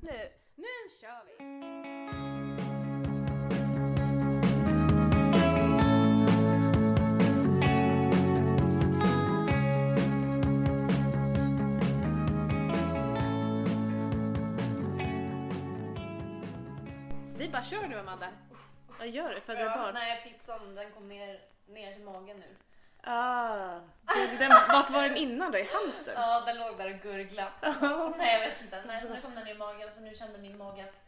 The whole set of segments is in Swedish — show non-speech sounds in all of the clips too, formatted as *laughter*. nu, nu kör vi! Vi bara kör nu Amanda. Jag gör det för att du är Ja, barn. nej, pizzan den kom ner, ner till magen nu. Ah, den, den, vart var den innan då? I halsen? Ja, den låg där och gurglade. *laughs* Nej, jag vet inte. Nej, så nu kom den ner i magen så nu kände min mage att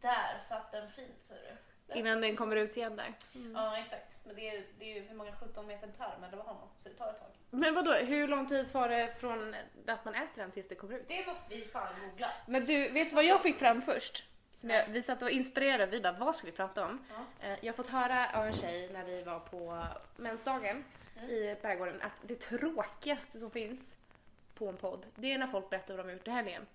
där satt den fint, ser du. Där Innan satt den kommer ut igen där. Ja, exakt. Men det är, det är ju hur många 17 meter tarm eller vad har man? Så det tar ett tag. Men vadå, hur lång tid tar det från att man äter den tills det kommer ut? Det måste vi fan googla. Men du, vet du vad jag fick fram först? Som jag, vi satt och inspirerade, vi bara vad ska vi prata om? Ja. Eh, Jag har fått höra av en tjej när vi var på mensdagen i Pärgården att det tråkigaste som finns på en podd, det är när folk berättar vad de har gjort i helgen.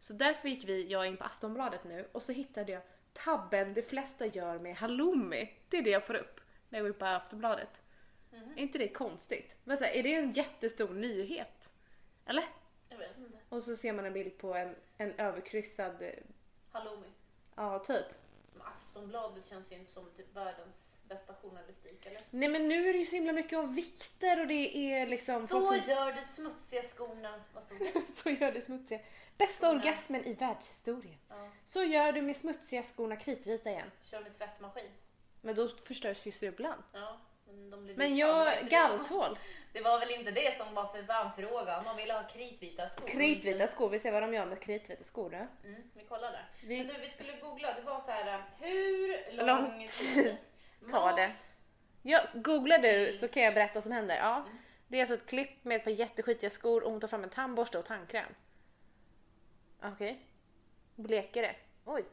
Så därför gick vi, jag in på Aftonbladet nu och så hittade jag tabben de flesta gör med halloumi. Det är det jag får upp när jag går in på Aftonbladet. Är inte det konstigt? Men så här, är det en jättestor nyhet? Eller? Jag vet inte. Och så ser man en bild på en, en överkryssad, eh, Halloumi. ja typ. Men Aftonbladet känns ju inte som typ världens bästa journalistik, eller? Nej men nu är det ju så himla mycket om vikter och det är liksom... folk Så som- gör du smutsiga skorna. Vad stod det? *laughs* så gör du smutsiga. Bästa orgasmen i världshistorien. Ja. Så gör du med smutsiga skorna kritvita igen. Kör med tvättmaskin. Men då förstörs ju sulan. Ja, men de blir Men vita. Det var jag, inte det som- galltål. Det var väl inte det som var för varmfrågan? De ville ha kritvita skor. Kritvita skor, vi ser vad de gör med kritvita skor nu. Mm, vi kollar där. Vi- Men du, vi skulle googla. Det var så här, hur lång, Lång tid tar det? Mat- Ja, googlar du så kan jag berätta vad som händer. Ja, det är alltså ett klipp med ett par jätteskitiga skor och hon tar fram en tandborste och tandkräm. Okej. Bleker det. Oj.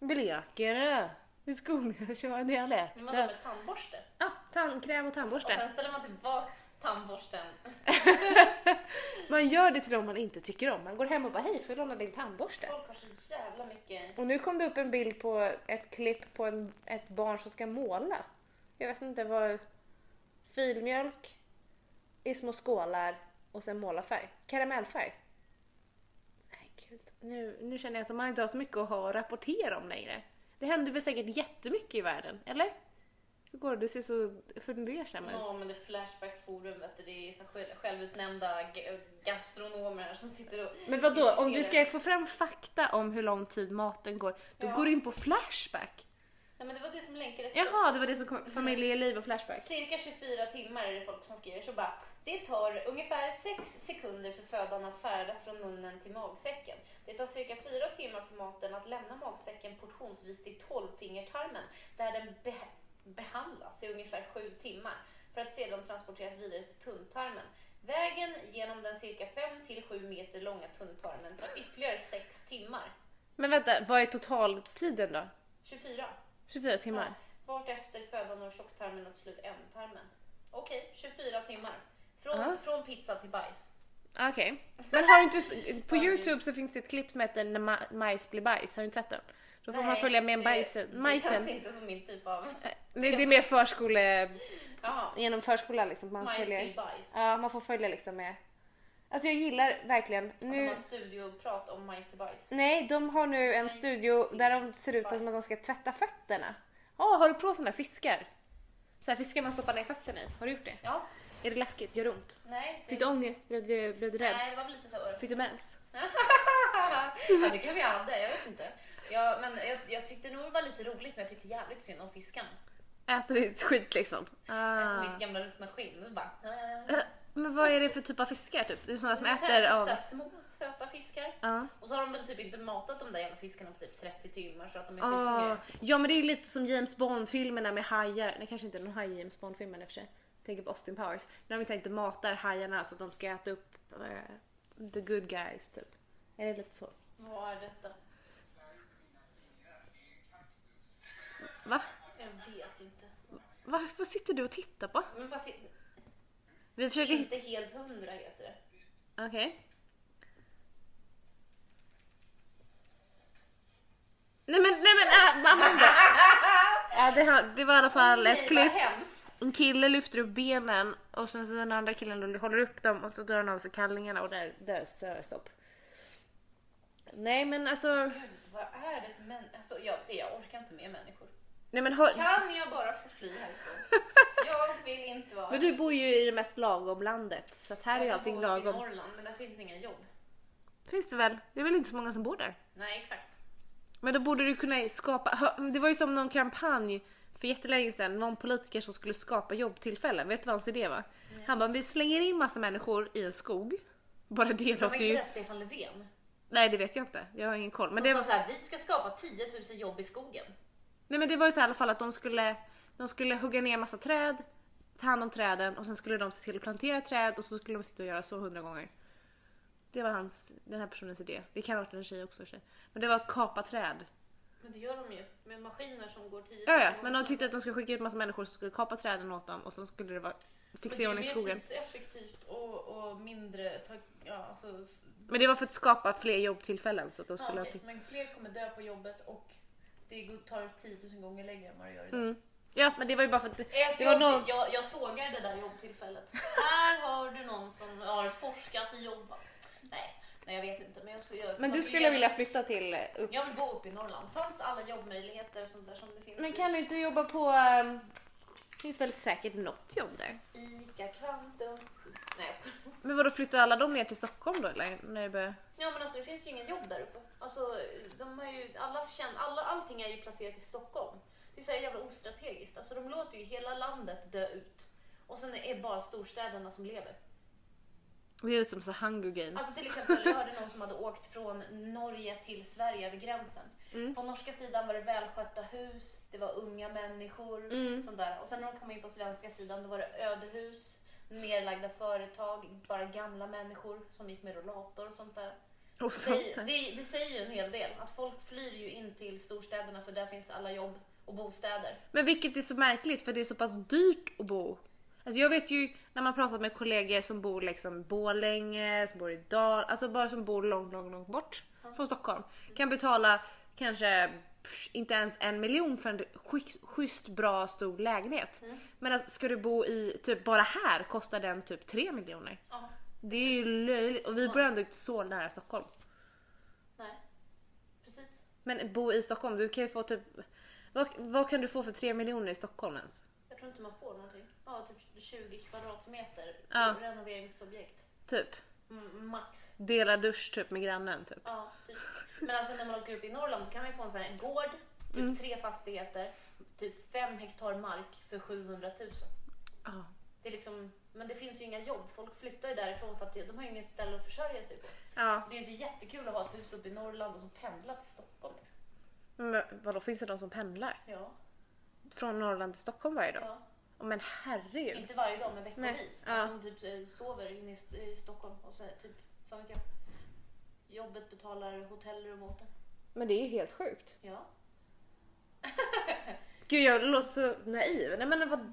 Bleker det. Vi skulle köra Men Vadå dialekten. med tandborste? Ja, tandkräm och tandborste. Och sen ställer man tillbaks tandborsten. Man gör det till dem man inte tycker om. Man går hem och bara hej, får jag låna din tandborste? Folk har så jävla mycket... Och nu kom det upp en bild på ett klipp på en, ett barn som ska måla. Jag vet inte vad... Filmjölk i små skålar och sen målarfärg. Karamellfärg. Nej gud, nu, nu känner jag att man inte har så mycket att ha att rapportera om längre. Det händer väl säkert jättemycket i världen, eller? Hur går det? Du ser så fundersam ut. Ja men det är Flashback forum vet du, det är så själv, självutnämnda ga- gastronomer här som sitter och Men vadå, om du diskuterar. ska få fram fakta om hur lång tid maten går, då Ja. går du in på Flashback. Nej men det var det som länkades först. Jaha, det var det som Mm. kom, familjeliv och Flashback. Cirka 24 timmar är det folk som skriver så bara. Det tar ungefär 6 sekunder för födan att färdas från munnen till magsäcken. Det tar cirka 4 timmar för maten att lämna magsäcken portionsvis till tolvfingertarmen där den be- behandlas i ungefär 7 timmar för att sedan transporteras vidare till tunntarmen. Vägen genom den cirka 5 till 7 meter långa tunntarmen tar ytterligare 6 timmar. Men vänta, vad är totaltiden då? 24. 24 timmar? Vartefter födan av tjocktarmen och till slut ändtarmen. Okej, 24 timmar. Från, Ja. från pizza till bajs. Ah, Okej. *laughs* Men har du inte... s- På Youtube så finns det ett klipp som heter När ma- majs blir bajs, har du inte sett den? Då får man Nej, följa med en det- bajsen. Det majsen. känns inte som min typ av... Det, det är mer förskole... Jaha, Genom förskolan liksom. Man majs till följer, bajs. ja, man får följa liksom med... Alltså jag gillar verkligen... De Nu... har studioprat om majs till bajs. Nej, de har nu en Nej, studio det- där de ser ut bajs. som att de ska tvätta fötterna. Ja, har du provat sådana fiskar? Så här fiskar man stoppar ner fötterna i. Har du gjort det? Ja, Är det läskigt? Gör det ont? nej. Fick du ångest? Blev du, blev du rädd? Nej, det var väl lite så. Fick du mens? ja, det kanske jag hade, jag vet inte. Ja, men jag, jag tyckte nog det var lite roligt, men jag tyckte jävligt synd om fiskarna. Äter ditt skit liksom? Ah. Ah. Mitt gamla ruttna skinn. det Bara... Men vad är det för typ av fiskar typ? Det är sådana som Men så här, äter typ av... så här små söta fiskar. Ja. Ah. Och så har de väl typ inte matat de där jävla fiskarna på typ 30 timmar så att de är Ah. skithungriga. Ja men det är lite som James Bond-filmerna med hajar. Nej kanske inte någon haj i James Bond-filmen i och för sig. Jag tänker på Austin Powers. När de inte, inte matar hajarna så att de ska äta upp eh, the good guys typ. Är det lite så? Vad är detta? Va? Jag vet inte. Varför sitter du och tittar på? Men vad till... Vi försöker hitta... Inte helt hundra heter det. Okej. Nej men, nej men äh, *laughs* Amanda! Ja, det, här- det var i alla fall Nej, ett vad klipp. hemskt. En kille lyfter upp benen och sen så den andra killen då håller upp dem och så drar han av sig kallingarna och där, där så är det stopp. Nej men alltså, Gud, vad är det för människor? Alltså, jag, det, jag orkar inte med människor. nej men hör, Kan jag bara få fly härifrån? *laughs* Jag vill inte vara... men du bor ju i det mest lagom landet så att här är ju Jag allting bor i lagom. Norrland, men där finns inga jobb. Finns det väl? Det är väl inte så många som bor där? Nej, exakt. Men då borde du kunna skapa, hö- det var ju som någon kampanj för jättelänge sedan, någon politiker som skulle skapa jobbtillfällen. Vet du vad hans idé var? Han bara, vi slänger in massa människor i en skog. Bara det Det var låter inte ju... det Stefan Löfven? Nej det vet jag inte, jag har ingen koll. Men Som det, sa såhär, vi ska skapa 10 000 jobb i skogen. nej, men det var ju så här, i alla fall att de skulle, de skulle hugga ner massa träd, ta hand om träden och sen skulle de se till att plantera träd och så skulle de sitta och göra så hundra gånger. Det var hans, den här personens idé. Det kan ha varit en tjej också i och för sig. Men det var att kapa träd. Men det gör de ju, med maskiner som går 10 000 Ja, ja, gånger men de snabbare. tyckte att de skulle skicka ut massa människor som skulle kapa träden åt dem och sen skulle det vara fixa i ordning Men det är mer skogen. tidseffektivt och, och mindre... Ta, ja, alltså, f- Men det var för att skapa fler jobbtillfällen så att de ja, skulle ha okej. till... Men fler kommer dö på jobbet och det går- tar 10 000 gånger längre än vad det gör idag. Mm. Ja, men det var ju bara för att det, Ett det var jobb- någon... jag, jag sågar det där jobbtillfället. Här har du någon som har forskat i jobb. va? Nej, nej jag vet inte. Men, jag, så- jag, Men du jag- skulle vilja flytta till... eh, Upp... Jag vill bo uppe i Norrland. Fanns alla jobbmöjligheter och sånt där som det finns Men kan du inte jobba på... ehm, Det finns väl säkert något jobb där? i ICA-kvanten? Nej jag skojar. Men vadå, flyttar alla de ner till Stockholm då eller? När det börjar... Ja men alltså det finns ju ingen jobb där uppe. Alltså, de har ju, alla förtjän, alla, allting är ju placerat i Stockholm. Det är så här jävla ostrategiskt. Alltså, de låter ju hela landet dö ut. Och sen är det bara storstäderna som lever. Det är lite som så här Hunger Games. Alltså till exempel, jag hörde någon som hade åkt från Norge till Sverige över gränsen. På norska sidan var det välskötta hus, det var unga människor, sånt där. Och sen när de kom in på svenska sidan då var det ödehus, nedlagda företag, bara gamla människor som gick med rollator och sånt där. och Det, så... säger- det, det säger ju en hel del, att folk flyr ju in till storstäderna för där finns alla jobb och bostäder. Men vilket är så märkligt för det är så pass dyrt att bo. Alltså jag vet ju när man pratat med kollegor som bor liksom i Borlänge, som bor i Dal, alltså bara som bor långt, långt, långt bort från Stockholm. Kan betala kanske pff, inte ens en miljon för en schys- schysst bra stor lägenhet. Medan ska du bo i, typ bara här kostar den typ 3 miljoner. Ja, Det är ju löjligt och vi bor ändå inte så nära Stockholm. nej. Precis. Men bo i Stockholm, du kan ju få typ, vad, vad kan du få för 3 miljoner i Stockholm ens? Jag tror inte man får någonting. Ja, typ 20 kvadratmeter Ja. renoveringsobjekt. Typ. Mm, max. Dela dusch typ med grannen typ. Ja, typ. Men alltså när man åker upp i Norrland så kan man ju få en sån här gård, typ Mm. tre fastigheter, typ fem hektar mark för 700 000. Ja. Det är liksom, men det finns ju inga jobb. Folk flyttar ju därifrån för att de har ju ingen ställe att försörja sig på. ja. Det är ju inte jättekul att ha ett hus uppe i Norrland och så pendla till Stockholm. Liksom. Men vadå, finns det de som pendlar? Ja, Från Norrland till Stockholm varje dag? ja. Åh, Men herregud. Inte varje dag, men veckovis. Nej, ja. Att de typ eh, sover inne i S- i Stockholm och så typ, fan vet jag. Jobbet betalar hotellrum åt dem. Men det är ju helt sjukt. Ja. Gud, jag låter så naiv. Nej men vad...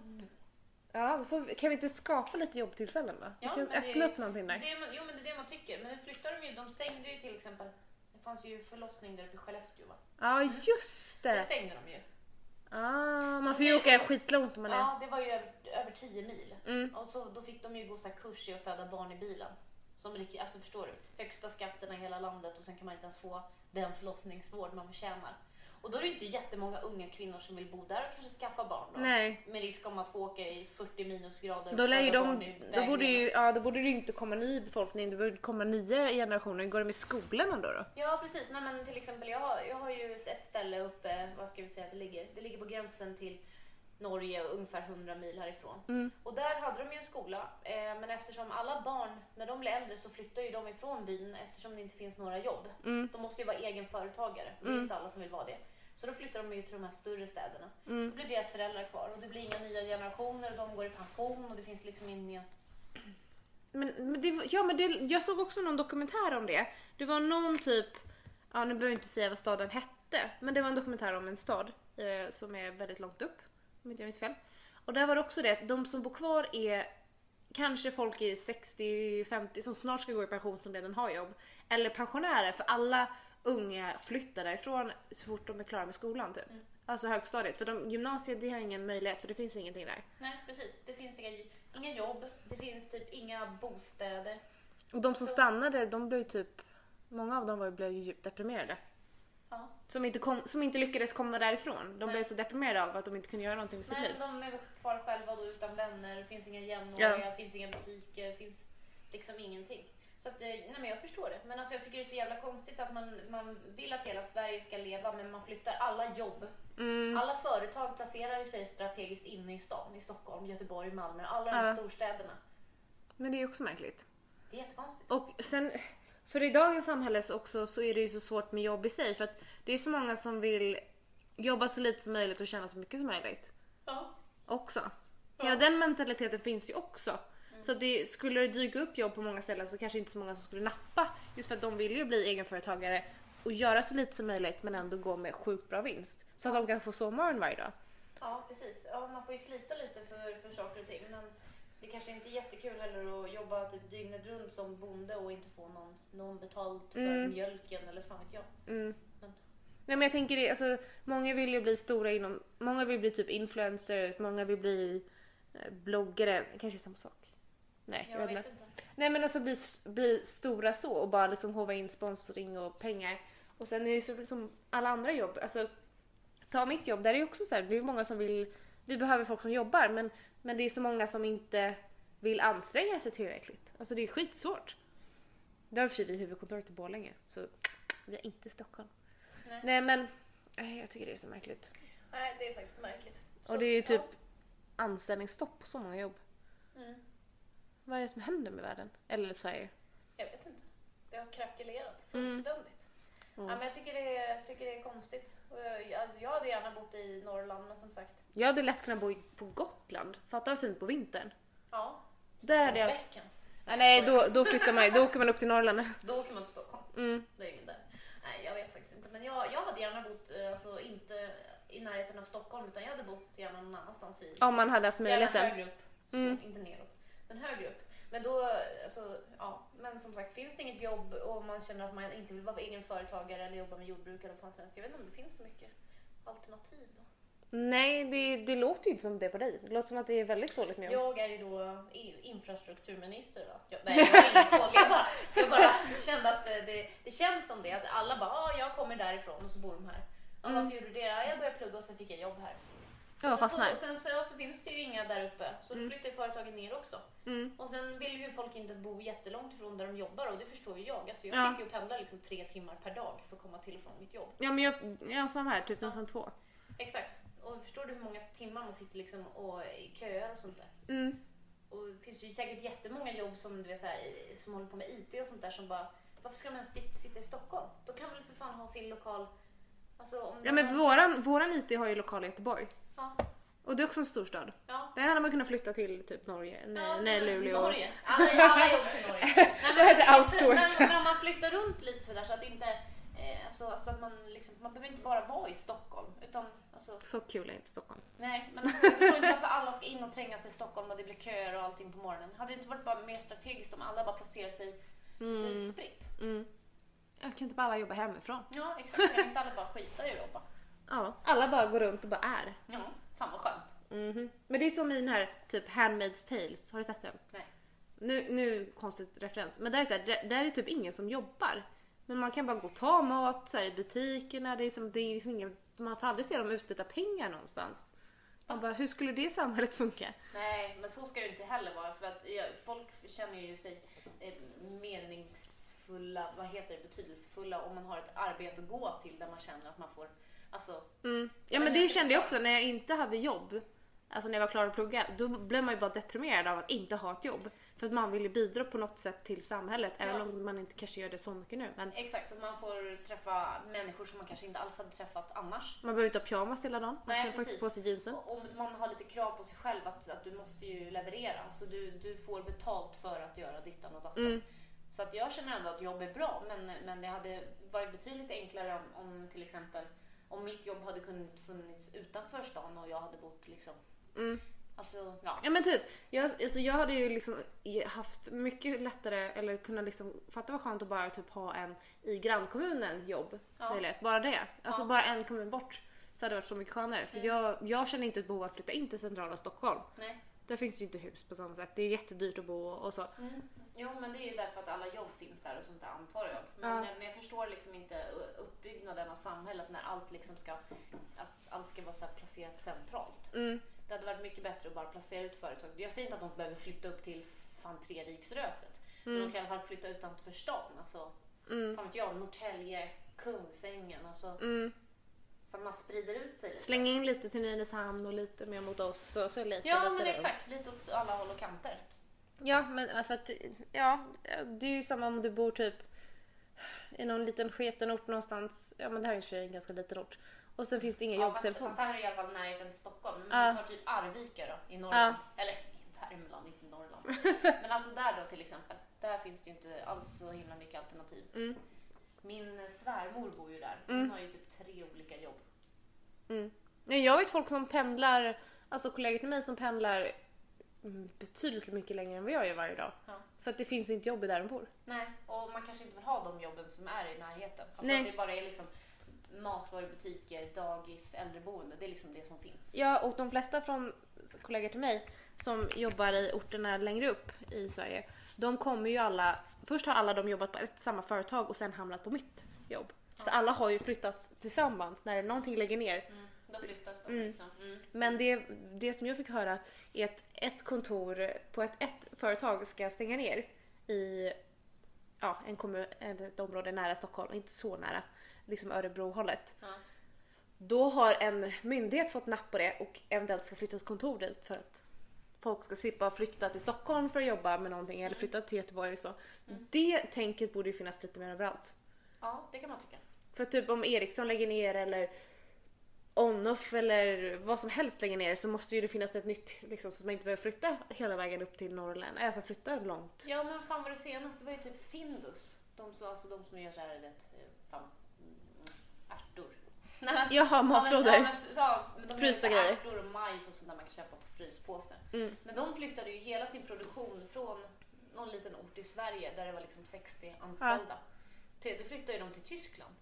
Ja, vi får, kan vi inte skapa lite jobbtillfällen då? Ja, vi kan men öppna det- upp någonting där. Det är, man- jo men det är det man tycker. Men nu flyttar de ju. De stängde ju till exempel. Det fanns ju förlossning där uppe i Skellefteå va? Ja, just Det det. stängde de ju. Ah, Så man får ju det- åka skitlångt om man är... Ja, det var ju över, över 10 mil. Mm. Och så, då fick de ju gå så här kurs i att föda barn i bilen. Som riktigt, alltså förstår du? Högsta skatterna i hela landet och sen kan man inte ens få den förlossningsvård man förtjänar. Och då är det ju inte jättemånga unga kvinnor som vill bo där och kanske skaffa barn då. Nej. Med risk om att få åka i 40 minusgrader och Då, lär ju föda barn de, i då, borde vägrenarna. ju, ja, då borde det ju inte komma ny befolkning, det borde komma nya generationer. Hur går det med skolorna då? då? Ja precis, Nej, men till exempel jag har, jag har ju ett ställe uppe, vad ska vi säga att det ligger? Det ligger på gränsen till Norge och ungefär 100 mil härifrån. Och där hade de ju en skola, eh, men eftersom alla barn, när de blir äldre så flyttar ju de ifrån byn eftersom det inte finns några jobb. De måste ju vara egenföretagare, och det är inte alla som vill vara det. Så då flyttar de ju till de här större städerna. Så blir deras föräldrar kvar och det blir inga nya generationer och de går i pension och det finns liksom ingen... Men, men det, var- ja, men det, jag såg också någon dokumentär om det. Det var någon typ, ja nu behöver jag inte säga vad staden hette, men det var en dokumentär om en stad eh, som är väldigt långt upp, om inte jag minns fel. Och där var det också det att de som bor kvar är kanske folk i 60-50 som snart ska gå i pension som redan har jobb. Eller pensionärer, för alla unga flyttar därifrån så fort de är klara med skolan typ. Alltså högstadiet, för de, gymnasiet det har ingen möjlighet för det finns ingenting där. Nej precis, det finns inga, inga jobb, det finns typ inga bostäder. Och de som stannade, de blev ju typ Många av dem var, ju- blev ju djupt deprimerade. Ja. Som inte, kom, som inte lyckades komma därifrån. De Nej. blev så deprimerade av att de inte kunde göra någonting med sitt Nej, liv. men de är kvar själva då utan vänner, finns inga jämnåriga, finns inga butiker, finns liksom ingenting. Så att, eh, nej men jag förstår det. Men alltså jag tycker det är så jävla konstigt att man, man vill att hela Sverige ska leva men man flyttar alla jobb. Mm. Alla företag placerar ju sig strategiskt inne i stan, i Stockholm, Göteborg, Malmö, alla de här Ja. storstäderna. Men det är ju också märkligt. Det är jättekonstigt. Och sen, för i dagens samhälle så, också, så är det ju så svårt med jobb i sig för att det är så många som vill jobba så lite som möjligt och tjäna så mycket som möjligt Ja. också. Hela den mentaliteten finns ju också. Så att det, skulle det dyka upp jobb på många ställen så kanske inte så många som skulle nappa just för att de vill ju bli egenföretagare och göra så lite som möjligt men ändå gå med sjukt bra vinst. Så att de kan få sovmorgon varje dag. Ja, precis. Ja, man får ju slita lite för, för saker och ting. Men det kanske inte är jättekul heller att jobba typ dygnet runt som bonde och inte få någon, någon betalt för Mm. mjölken eller fan vet jag. Mm. Men- Nej men jag tänker det, alltså, många vill ju bli stora inom, många vill bli typ influencers, många vill bli eh, bloggare, kanske samma sak? Nej, jag, Jag vet vet inte. inte. Nej men alltså bli, bli stora så och bara liksom hova in sponsring och pengar. Och sen är det så liksom alla andra jobb, alltså ta mitt jobb, där är ju också så här, det är ju många som vill, vi behöver folk som jobbar men, men det är så många som inte vill anstränga sig tillräckligt. Alltså det är skitsvårt. Där har i och för sig vi huvudkontoret i Borlänge så vi är inte i Stockholm. Nej. Nej, men nej, jag tycker det är så märkligt. Nej, det är faktiskt märkligt. och det är ju typ anställningsstopp på så många jobb. Ja, mm, Vad är det som händer med världen? Eller Sverige? jag vet inte. Det har krackelerat Mm. fullständigt. Ja, men jag tycker det, är- jag tycker det är konstigt. Och jag- Jag, jag hade gärna bott i Norrland, men som sagt. Jag hade lätt kunnat bo i- på Gotland. Fatta vad fint på vintern. Ja, Där hade jag... veckan. Ah, nej, då, då flyttar man ju. Då åker man upp till Norrland. Då åker man till Stockholm. Mm. Det är ingen där. Nej, jag vet faktiskt inte. Men jag, jag hade gärna bott, eh, alltså inte i närheten av Stockholm, utan jag hade bott gärna någon annanstans i... Om man hade haft gärna möjligheten. högre upp. Mm. Så, inte neråt. Men högre upp. Men då, eh, alltså, ja. Men som sagt, finns det inget jobb och man känner att man inte vill vara egen företagare eller jobba med jordbruk eller vad fan som helst. Jag vet inte om det finns så mycket alternativ då. Nej, det, det låter ju inte som det på dig. Det låter som att det är väldigt dåligt med jobb. Jag är ju då EU infrastrukturminister. Va? Jag, nej, jag har ingen koll. Jag bara, jag bara kände att eh, det, det känns som det. Att alla bara, ah, jag kommer därifrån och så bor de här. Ja, Mm. varför gjorde du det? Ja, jag började plugga och sen fick jag jobb här. Jag bara och sen, fastnar. så, och sen så, så finns det ju inga där uppe, så då flyttar ju företagen ner också. Mm. Och sen vill ju folk inte bo jättelångt ifrån där de jobbar och det förstår ju jag. Alltså, jag Ja. sitter ju och pendlar liksom tre timmar per dag för att komma till och från mitt jobb. Ja, men jag, jag är samma här. Typ nästan två. Exakt. Och förstår du hur många timmar man sitter liksom och i köer och sånt där? Mm. Och det finns ju säkert jättemånga jobb som, du vet, så här, som håller på med IT och sånt där som bara varför ska man ens dit- sitta i Stockholm? Då kan väl för fan ha sin lokal... Alltså, om Ja, men våran, våran IT har ju lokal i Göteborg. Ja, Och det är också en storstad. ja. Där hade man kunnat flytta till typ Norge. Nej, Ja, nej Luleå. Norge. Alla, alla jobb *laughs* till Norge. Nej, men Det heter jag tycker- outsource. Men, men om man flyttar runt lite sådär så att inte... Eh, så, så att man, liksom, man behöver inte bara vara i Stockholm. Utan, alltså, Så kul är inte Stockholm. nej, men alltså, jag förstår inte varför alla ska in och trängas i Stockholm och det blir köer och allting på morgonen. Hade det inte varit bara mer strategiskt om alla bara placerar sig typ lite utspritt? Mm. Jag kan inte bara alla jobba hemifrån. Ja, exakt. Kan inte alla bara skita i att jobba? Ja, alla bara går runt och bara är. Ja, fan vad skönt. Mhm. Men det är som i den här typ Handmaid's Tales, har du sett den? Nej. Nu, nu konstigt referens, men där är, så här, där, där är typ ingen som jobbar. Men man kan bara gå och ta mat så här, i butikerna, det är som, det är liksom ingen, man får aldrig se dem utbyta pengar någonstans. Man bara, hur skulle det samhället funka? Nej, men så ska det inte heller vara. För att ja, folk känner ju sig eh, meningsfulla, vad heter det, betydelsefulla om man har ett arbete att gå till där man känner att man får, alltså, Mm. Ja Men men det jag tycker- kände jag också när jag inte hade jobb. Alltså när jag var klar att plugga, då blev man ju bara deprimerad av att inte ha ett jobb. För att man vill ju bidra på något sätt till samhället, även Ja. om man inte kanske gör det så mycket nu. Men exakt, och man får träffa människor som man kanske inte alls hade träffat annars. man behöver inte ha pyjamas hela dagen, man Nej, kan precis. faktiskt på sig jeansen. Och och man har lite krav på sig själv att, att du måste ju leverera. Så du, du får betalt för att göra dittan och dattan. Mm. Så att jag känner ändå att jobb är bra, men, men det hade varit betydligt enklare om, om till exempel om mitt jobb hade kunnat funnits utanför stan och jag hade bott liksom... Mm. Alltså, ja. Ja men typ, jag, alltså jag hade ju liksom haft mycket lättare, eller kunnat liksom, fatta vad skönt att bara typ ha en i grannkommunen jobb. Ja. Möjlighet. Bara det. Alltså Ja. Mm. bara en kommun bort. Så hade det varit så mycket skönare. För jag, jag känner inte ett behov av att flytta in till centrala Stockholm. Nej. Där finns ju inte hus på samma sätt. Det är jättedyrt att bo och så. Mm. Jo, men det är ju därför att alla jobb finns där och sånt där antar jag. Men, Ja. jag- men jag förstår liksom inte u- uppbyggnaden av samhället när allt liksom ska, att allt ska vara så här placerat centralt. Mm. Det hade varit mycket bättre att bara placera ut företag. Jag säger inte att de behöver flytta upp till fan Treriksröset. Men de kan i alla fall flytta utanför stan. Alltså, Mm. fan vet jag, Norrtälje, Kungsängen. Alltså, Mm. så att man sprider ut sig lite. Släng in lite till Nynäshamn och lite mer mot oss och så lite ja, lite men runt. exakt. Lite åt alla håll och kanter. Ja, men äh, för att, ja, det är ju samma om du bor typ i någon liten sketen ort någonstans. Ja, men det här är i och för sig en ganska liten ort. Och sen finns det ingen Ja, fast, jobbtelefon. fast här är i alla fall närheten till Stockholm. Men Ja. om du tar typ Arvika då, i Norrland. Eller inte Värmland, *laughs* inte Norrland. men alltså där då till exempel. Där finns det ju inte alls så himla mycket alternativ. Mm. Min svärmor bor ju där. Hon Mm. har ju typ tre olika jobb. Nej, jag vet folk som pendlar, alltså kollegor till mig som pendlar mm, betydligt mycket längre än vad jag gör varje dag. Ja. För att det finns inte jobb där de bor. Nej, och man kanske inte vill ha de jobben som är i närheten. Alltså Nej. att det bara är liksom matvarubutiker, dagis, äldreboende. Det är liksom det som finns. Ja, och de flesta från kollegor till mig som jobbar i orterna längre upp i Sverige, de kommer ju alla, först har alla de jobbat på ett samma företag och sen hamnat på mitt jobb. Så alla har ju flyttats tillsammans när någonting lägger ner. Mm. Då flyttas de Mm. liksom. Mm. Men det, det som jag fick höra är att ett kontor på ett, ett företag ska stänga ner i ja, en kommun, ett område nära Stockholm, inte så nära, liksom Örebro-hållet. Ja. Då har en myndighet fått napp på det och eventuellt ska flytta ett kontor dit för att folk ska slippa flykta till Stockholm för att jobba med någonting eller flytta till Göteborg och så. Mm. Det tänket borde ju finnas lite mer överallt. ja, det kan man tycka. För typ om Ericsson lägger ner eller Onoff eller vad som helst lägger ner så måste ju det finnas ett nytt liksom, så att man inte behöver flytta hela vägen upp till Norrland. Alltså flytta långt. Ja men fan var det senaste var ju typ Findus. De som, alltså de som gör såhär, du vet, eh, fan, mm, ärtor. *laughs* Nej, men- Jaha, matlådor. Ja, men, ja, men, ja, men de gör Frysta så grejer. Ärtor och majs och sånt där man kan köpa på fryspåse. Mm. Men de flyttade ju hela sin produktion från någon liten ort i Sverige där det var liksom 60 anställda. Till, då flyttade ju de till Tyskland.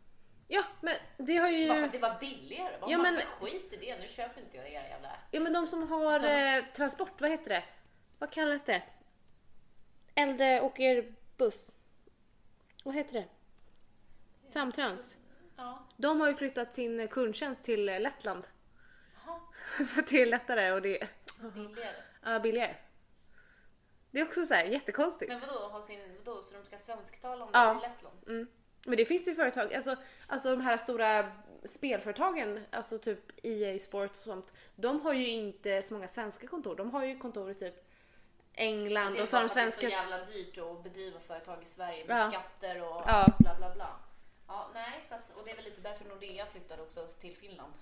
Ja, men det har ju... Bara för att det var billigare. Bara, Ja, ja, men... men- skit i det, nu köper inte jag era jävla ärtor. Ja men de som har eh, transport, vad heter det? Vad kallas det? Äldre åker buss. Vad heter det? Samtrans. Ja. De har ju flyttat sin kundtjänst till eh, Lettland. *laughs* Jaha, För att det är lättare och det är billigare. ja, billigare. Det är också så här jättekonstigt. Men vadå, ha sin, vadå, så de ska svensktalande Ja. i Lettland? Mm. Men det finns ju företag, alltså, alltså de här stora spelföretagen, alltså typ EA Sports och sånt, de har ju inte så många svenska kontor. De har ju kontor i typ England Det är och så har bara de för att det svenska... är så jävla dyrt att bedriva företag i Sverige med Ja. skatter och Ja. bla bla bla. Ja, nej, så att, och det är väl lite därför Nordea flyttade också till Finland.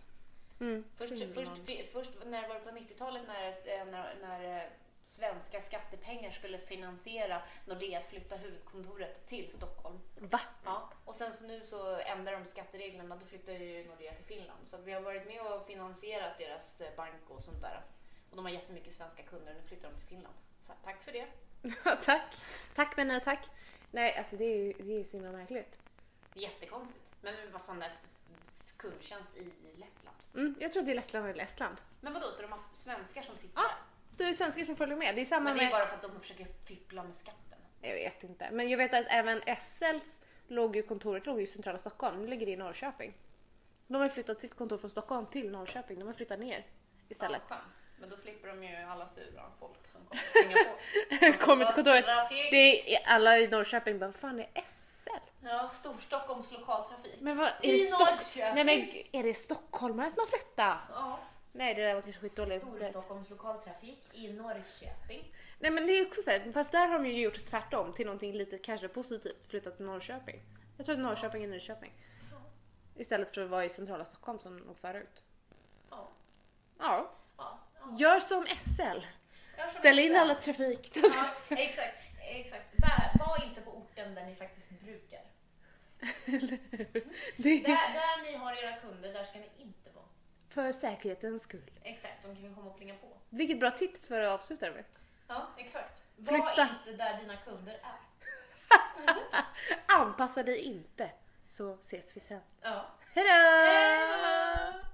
Mm. Först, Finland. först, fi- först när var det på 90-talet när, eh, när, när eh, svenska skattepengar skulle finansiera Nordea att flytta huvudkontoret till Stockholm. Va? Ja, och sen så nu så ändrar de skattereglerna, då flyttar ju Nordea till Finland. Så att vi har varit med och finansierat deras eh, bank och sånt där. Och de har jättemycket svenska kunder, nu flyttar de till Finland. Så att, tack för det. *laughs* tack. Tack men nej tack. Nej alltså det är ju, det är ju så himla märkligt. Det är Jättekonstigt. Men vad fan är f- f- kundtjänst i Lettland? Mm, jag tror att det är Lettland eller Estland. Men vadå, så de har svenskar som Ja, sitter där? Det är ju svenskar som följer med. Det är samma Men det är med... bara för att de försöker fippla med skatten. Jag vet inte. Men jag vet att även SLs låg ju kontoret låg ju i centrala Stockholm. Nu ligger det i Norrköping. De har ju flyttat sitt kontor från Stockholm till Norrköping. De har flyttat ner istället. Ja, skönt. Men då slipper de ju alla sura folk som *laughs* kommer och hänga på. De Kommer till kontoret. bara skrika. Det är alla i Norrköping bara, fan är SL? Ja, Storstockholms lokaltrafik. Men vad, är I det Stock- Norrköping. Nej men g- är det stockholmare som har flyttat? Ja. Nej det där var kanske skitdåligt. Storstockholms lokaltrafik i Norrköping. Nej men det är också så här, fast där har de ju gjort tvärtom till någonting lite kanske positivt, flyttat till Norrköping. Jag tror att Norrköping är Nyköping. Istället för att vara i centrala Stockholm som de låg förut. Ja. Ja, ja, ja. gör som SL. Jag har som Ställ in exempel- alla trafik. Ja, exakt. exakt. Var, var inte på orten där ni faktiskt brukar. Det är Där, där ni har era kunder, där ska ni inte vara. för säkerhetens skull. Exakt, de kan ju komma och plinga på. Vilket bra tips för att avsluta det med. Ja, exakt. Var Flytta. inte där dina kunder är. Anpassa dig inte, så ses vi sen. Ja. Hejdå!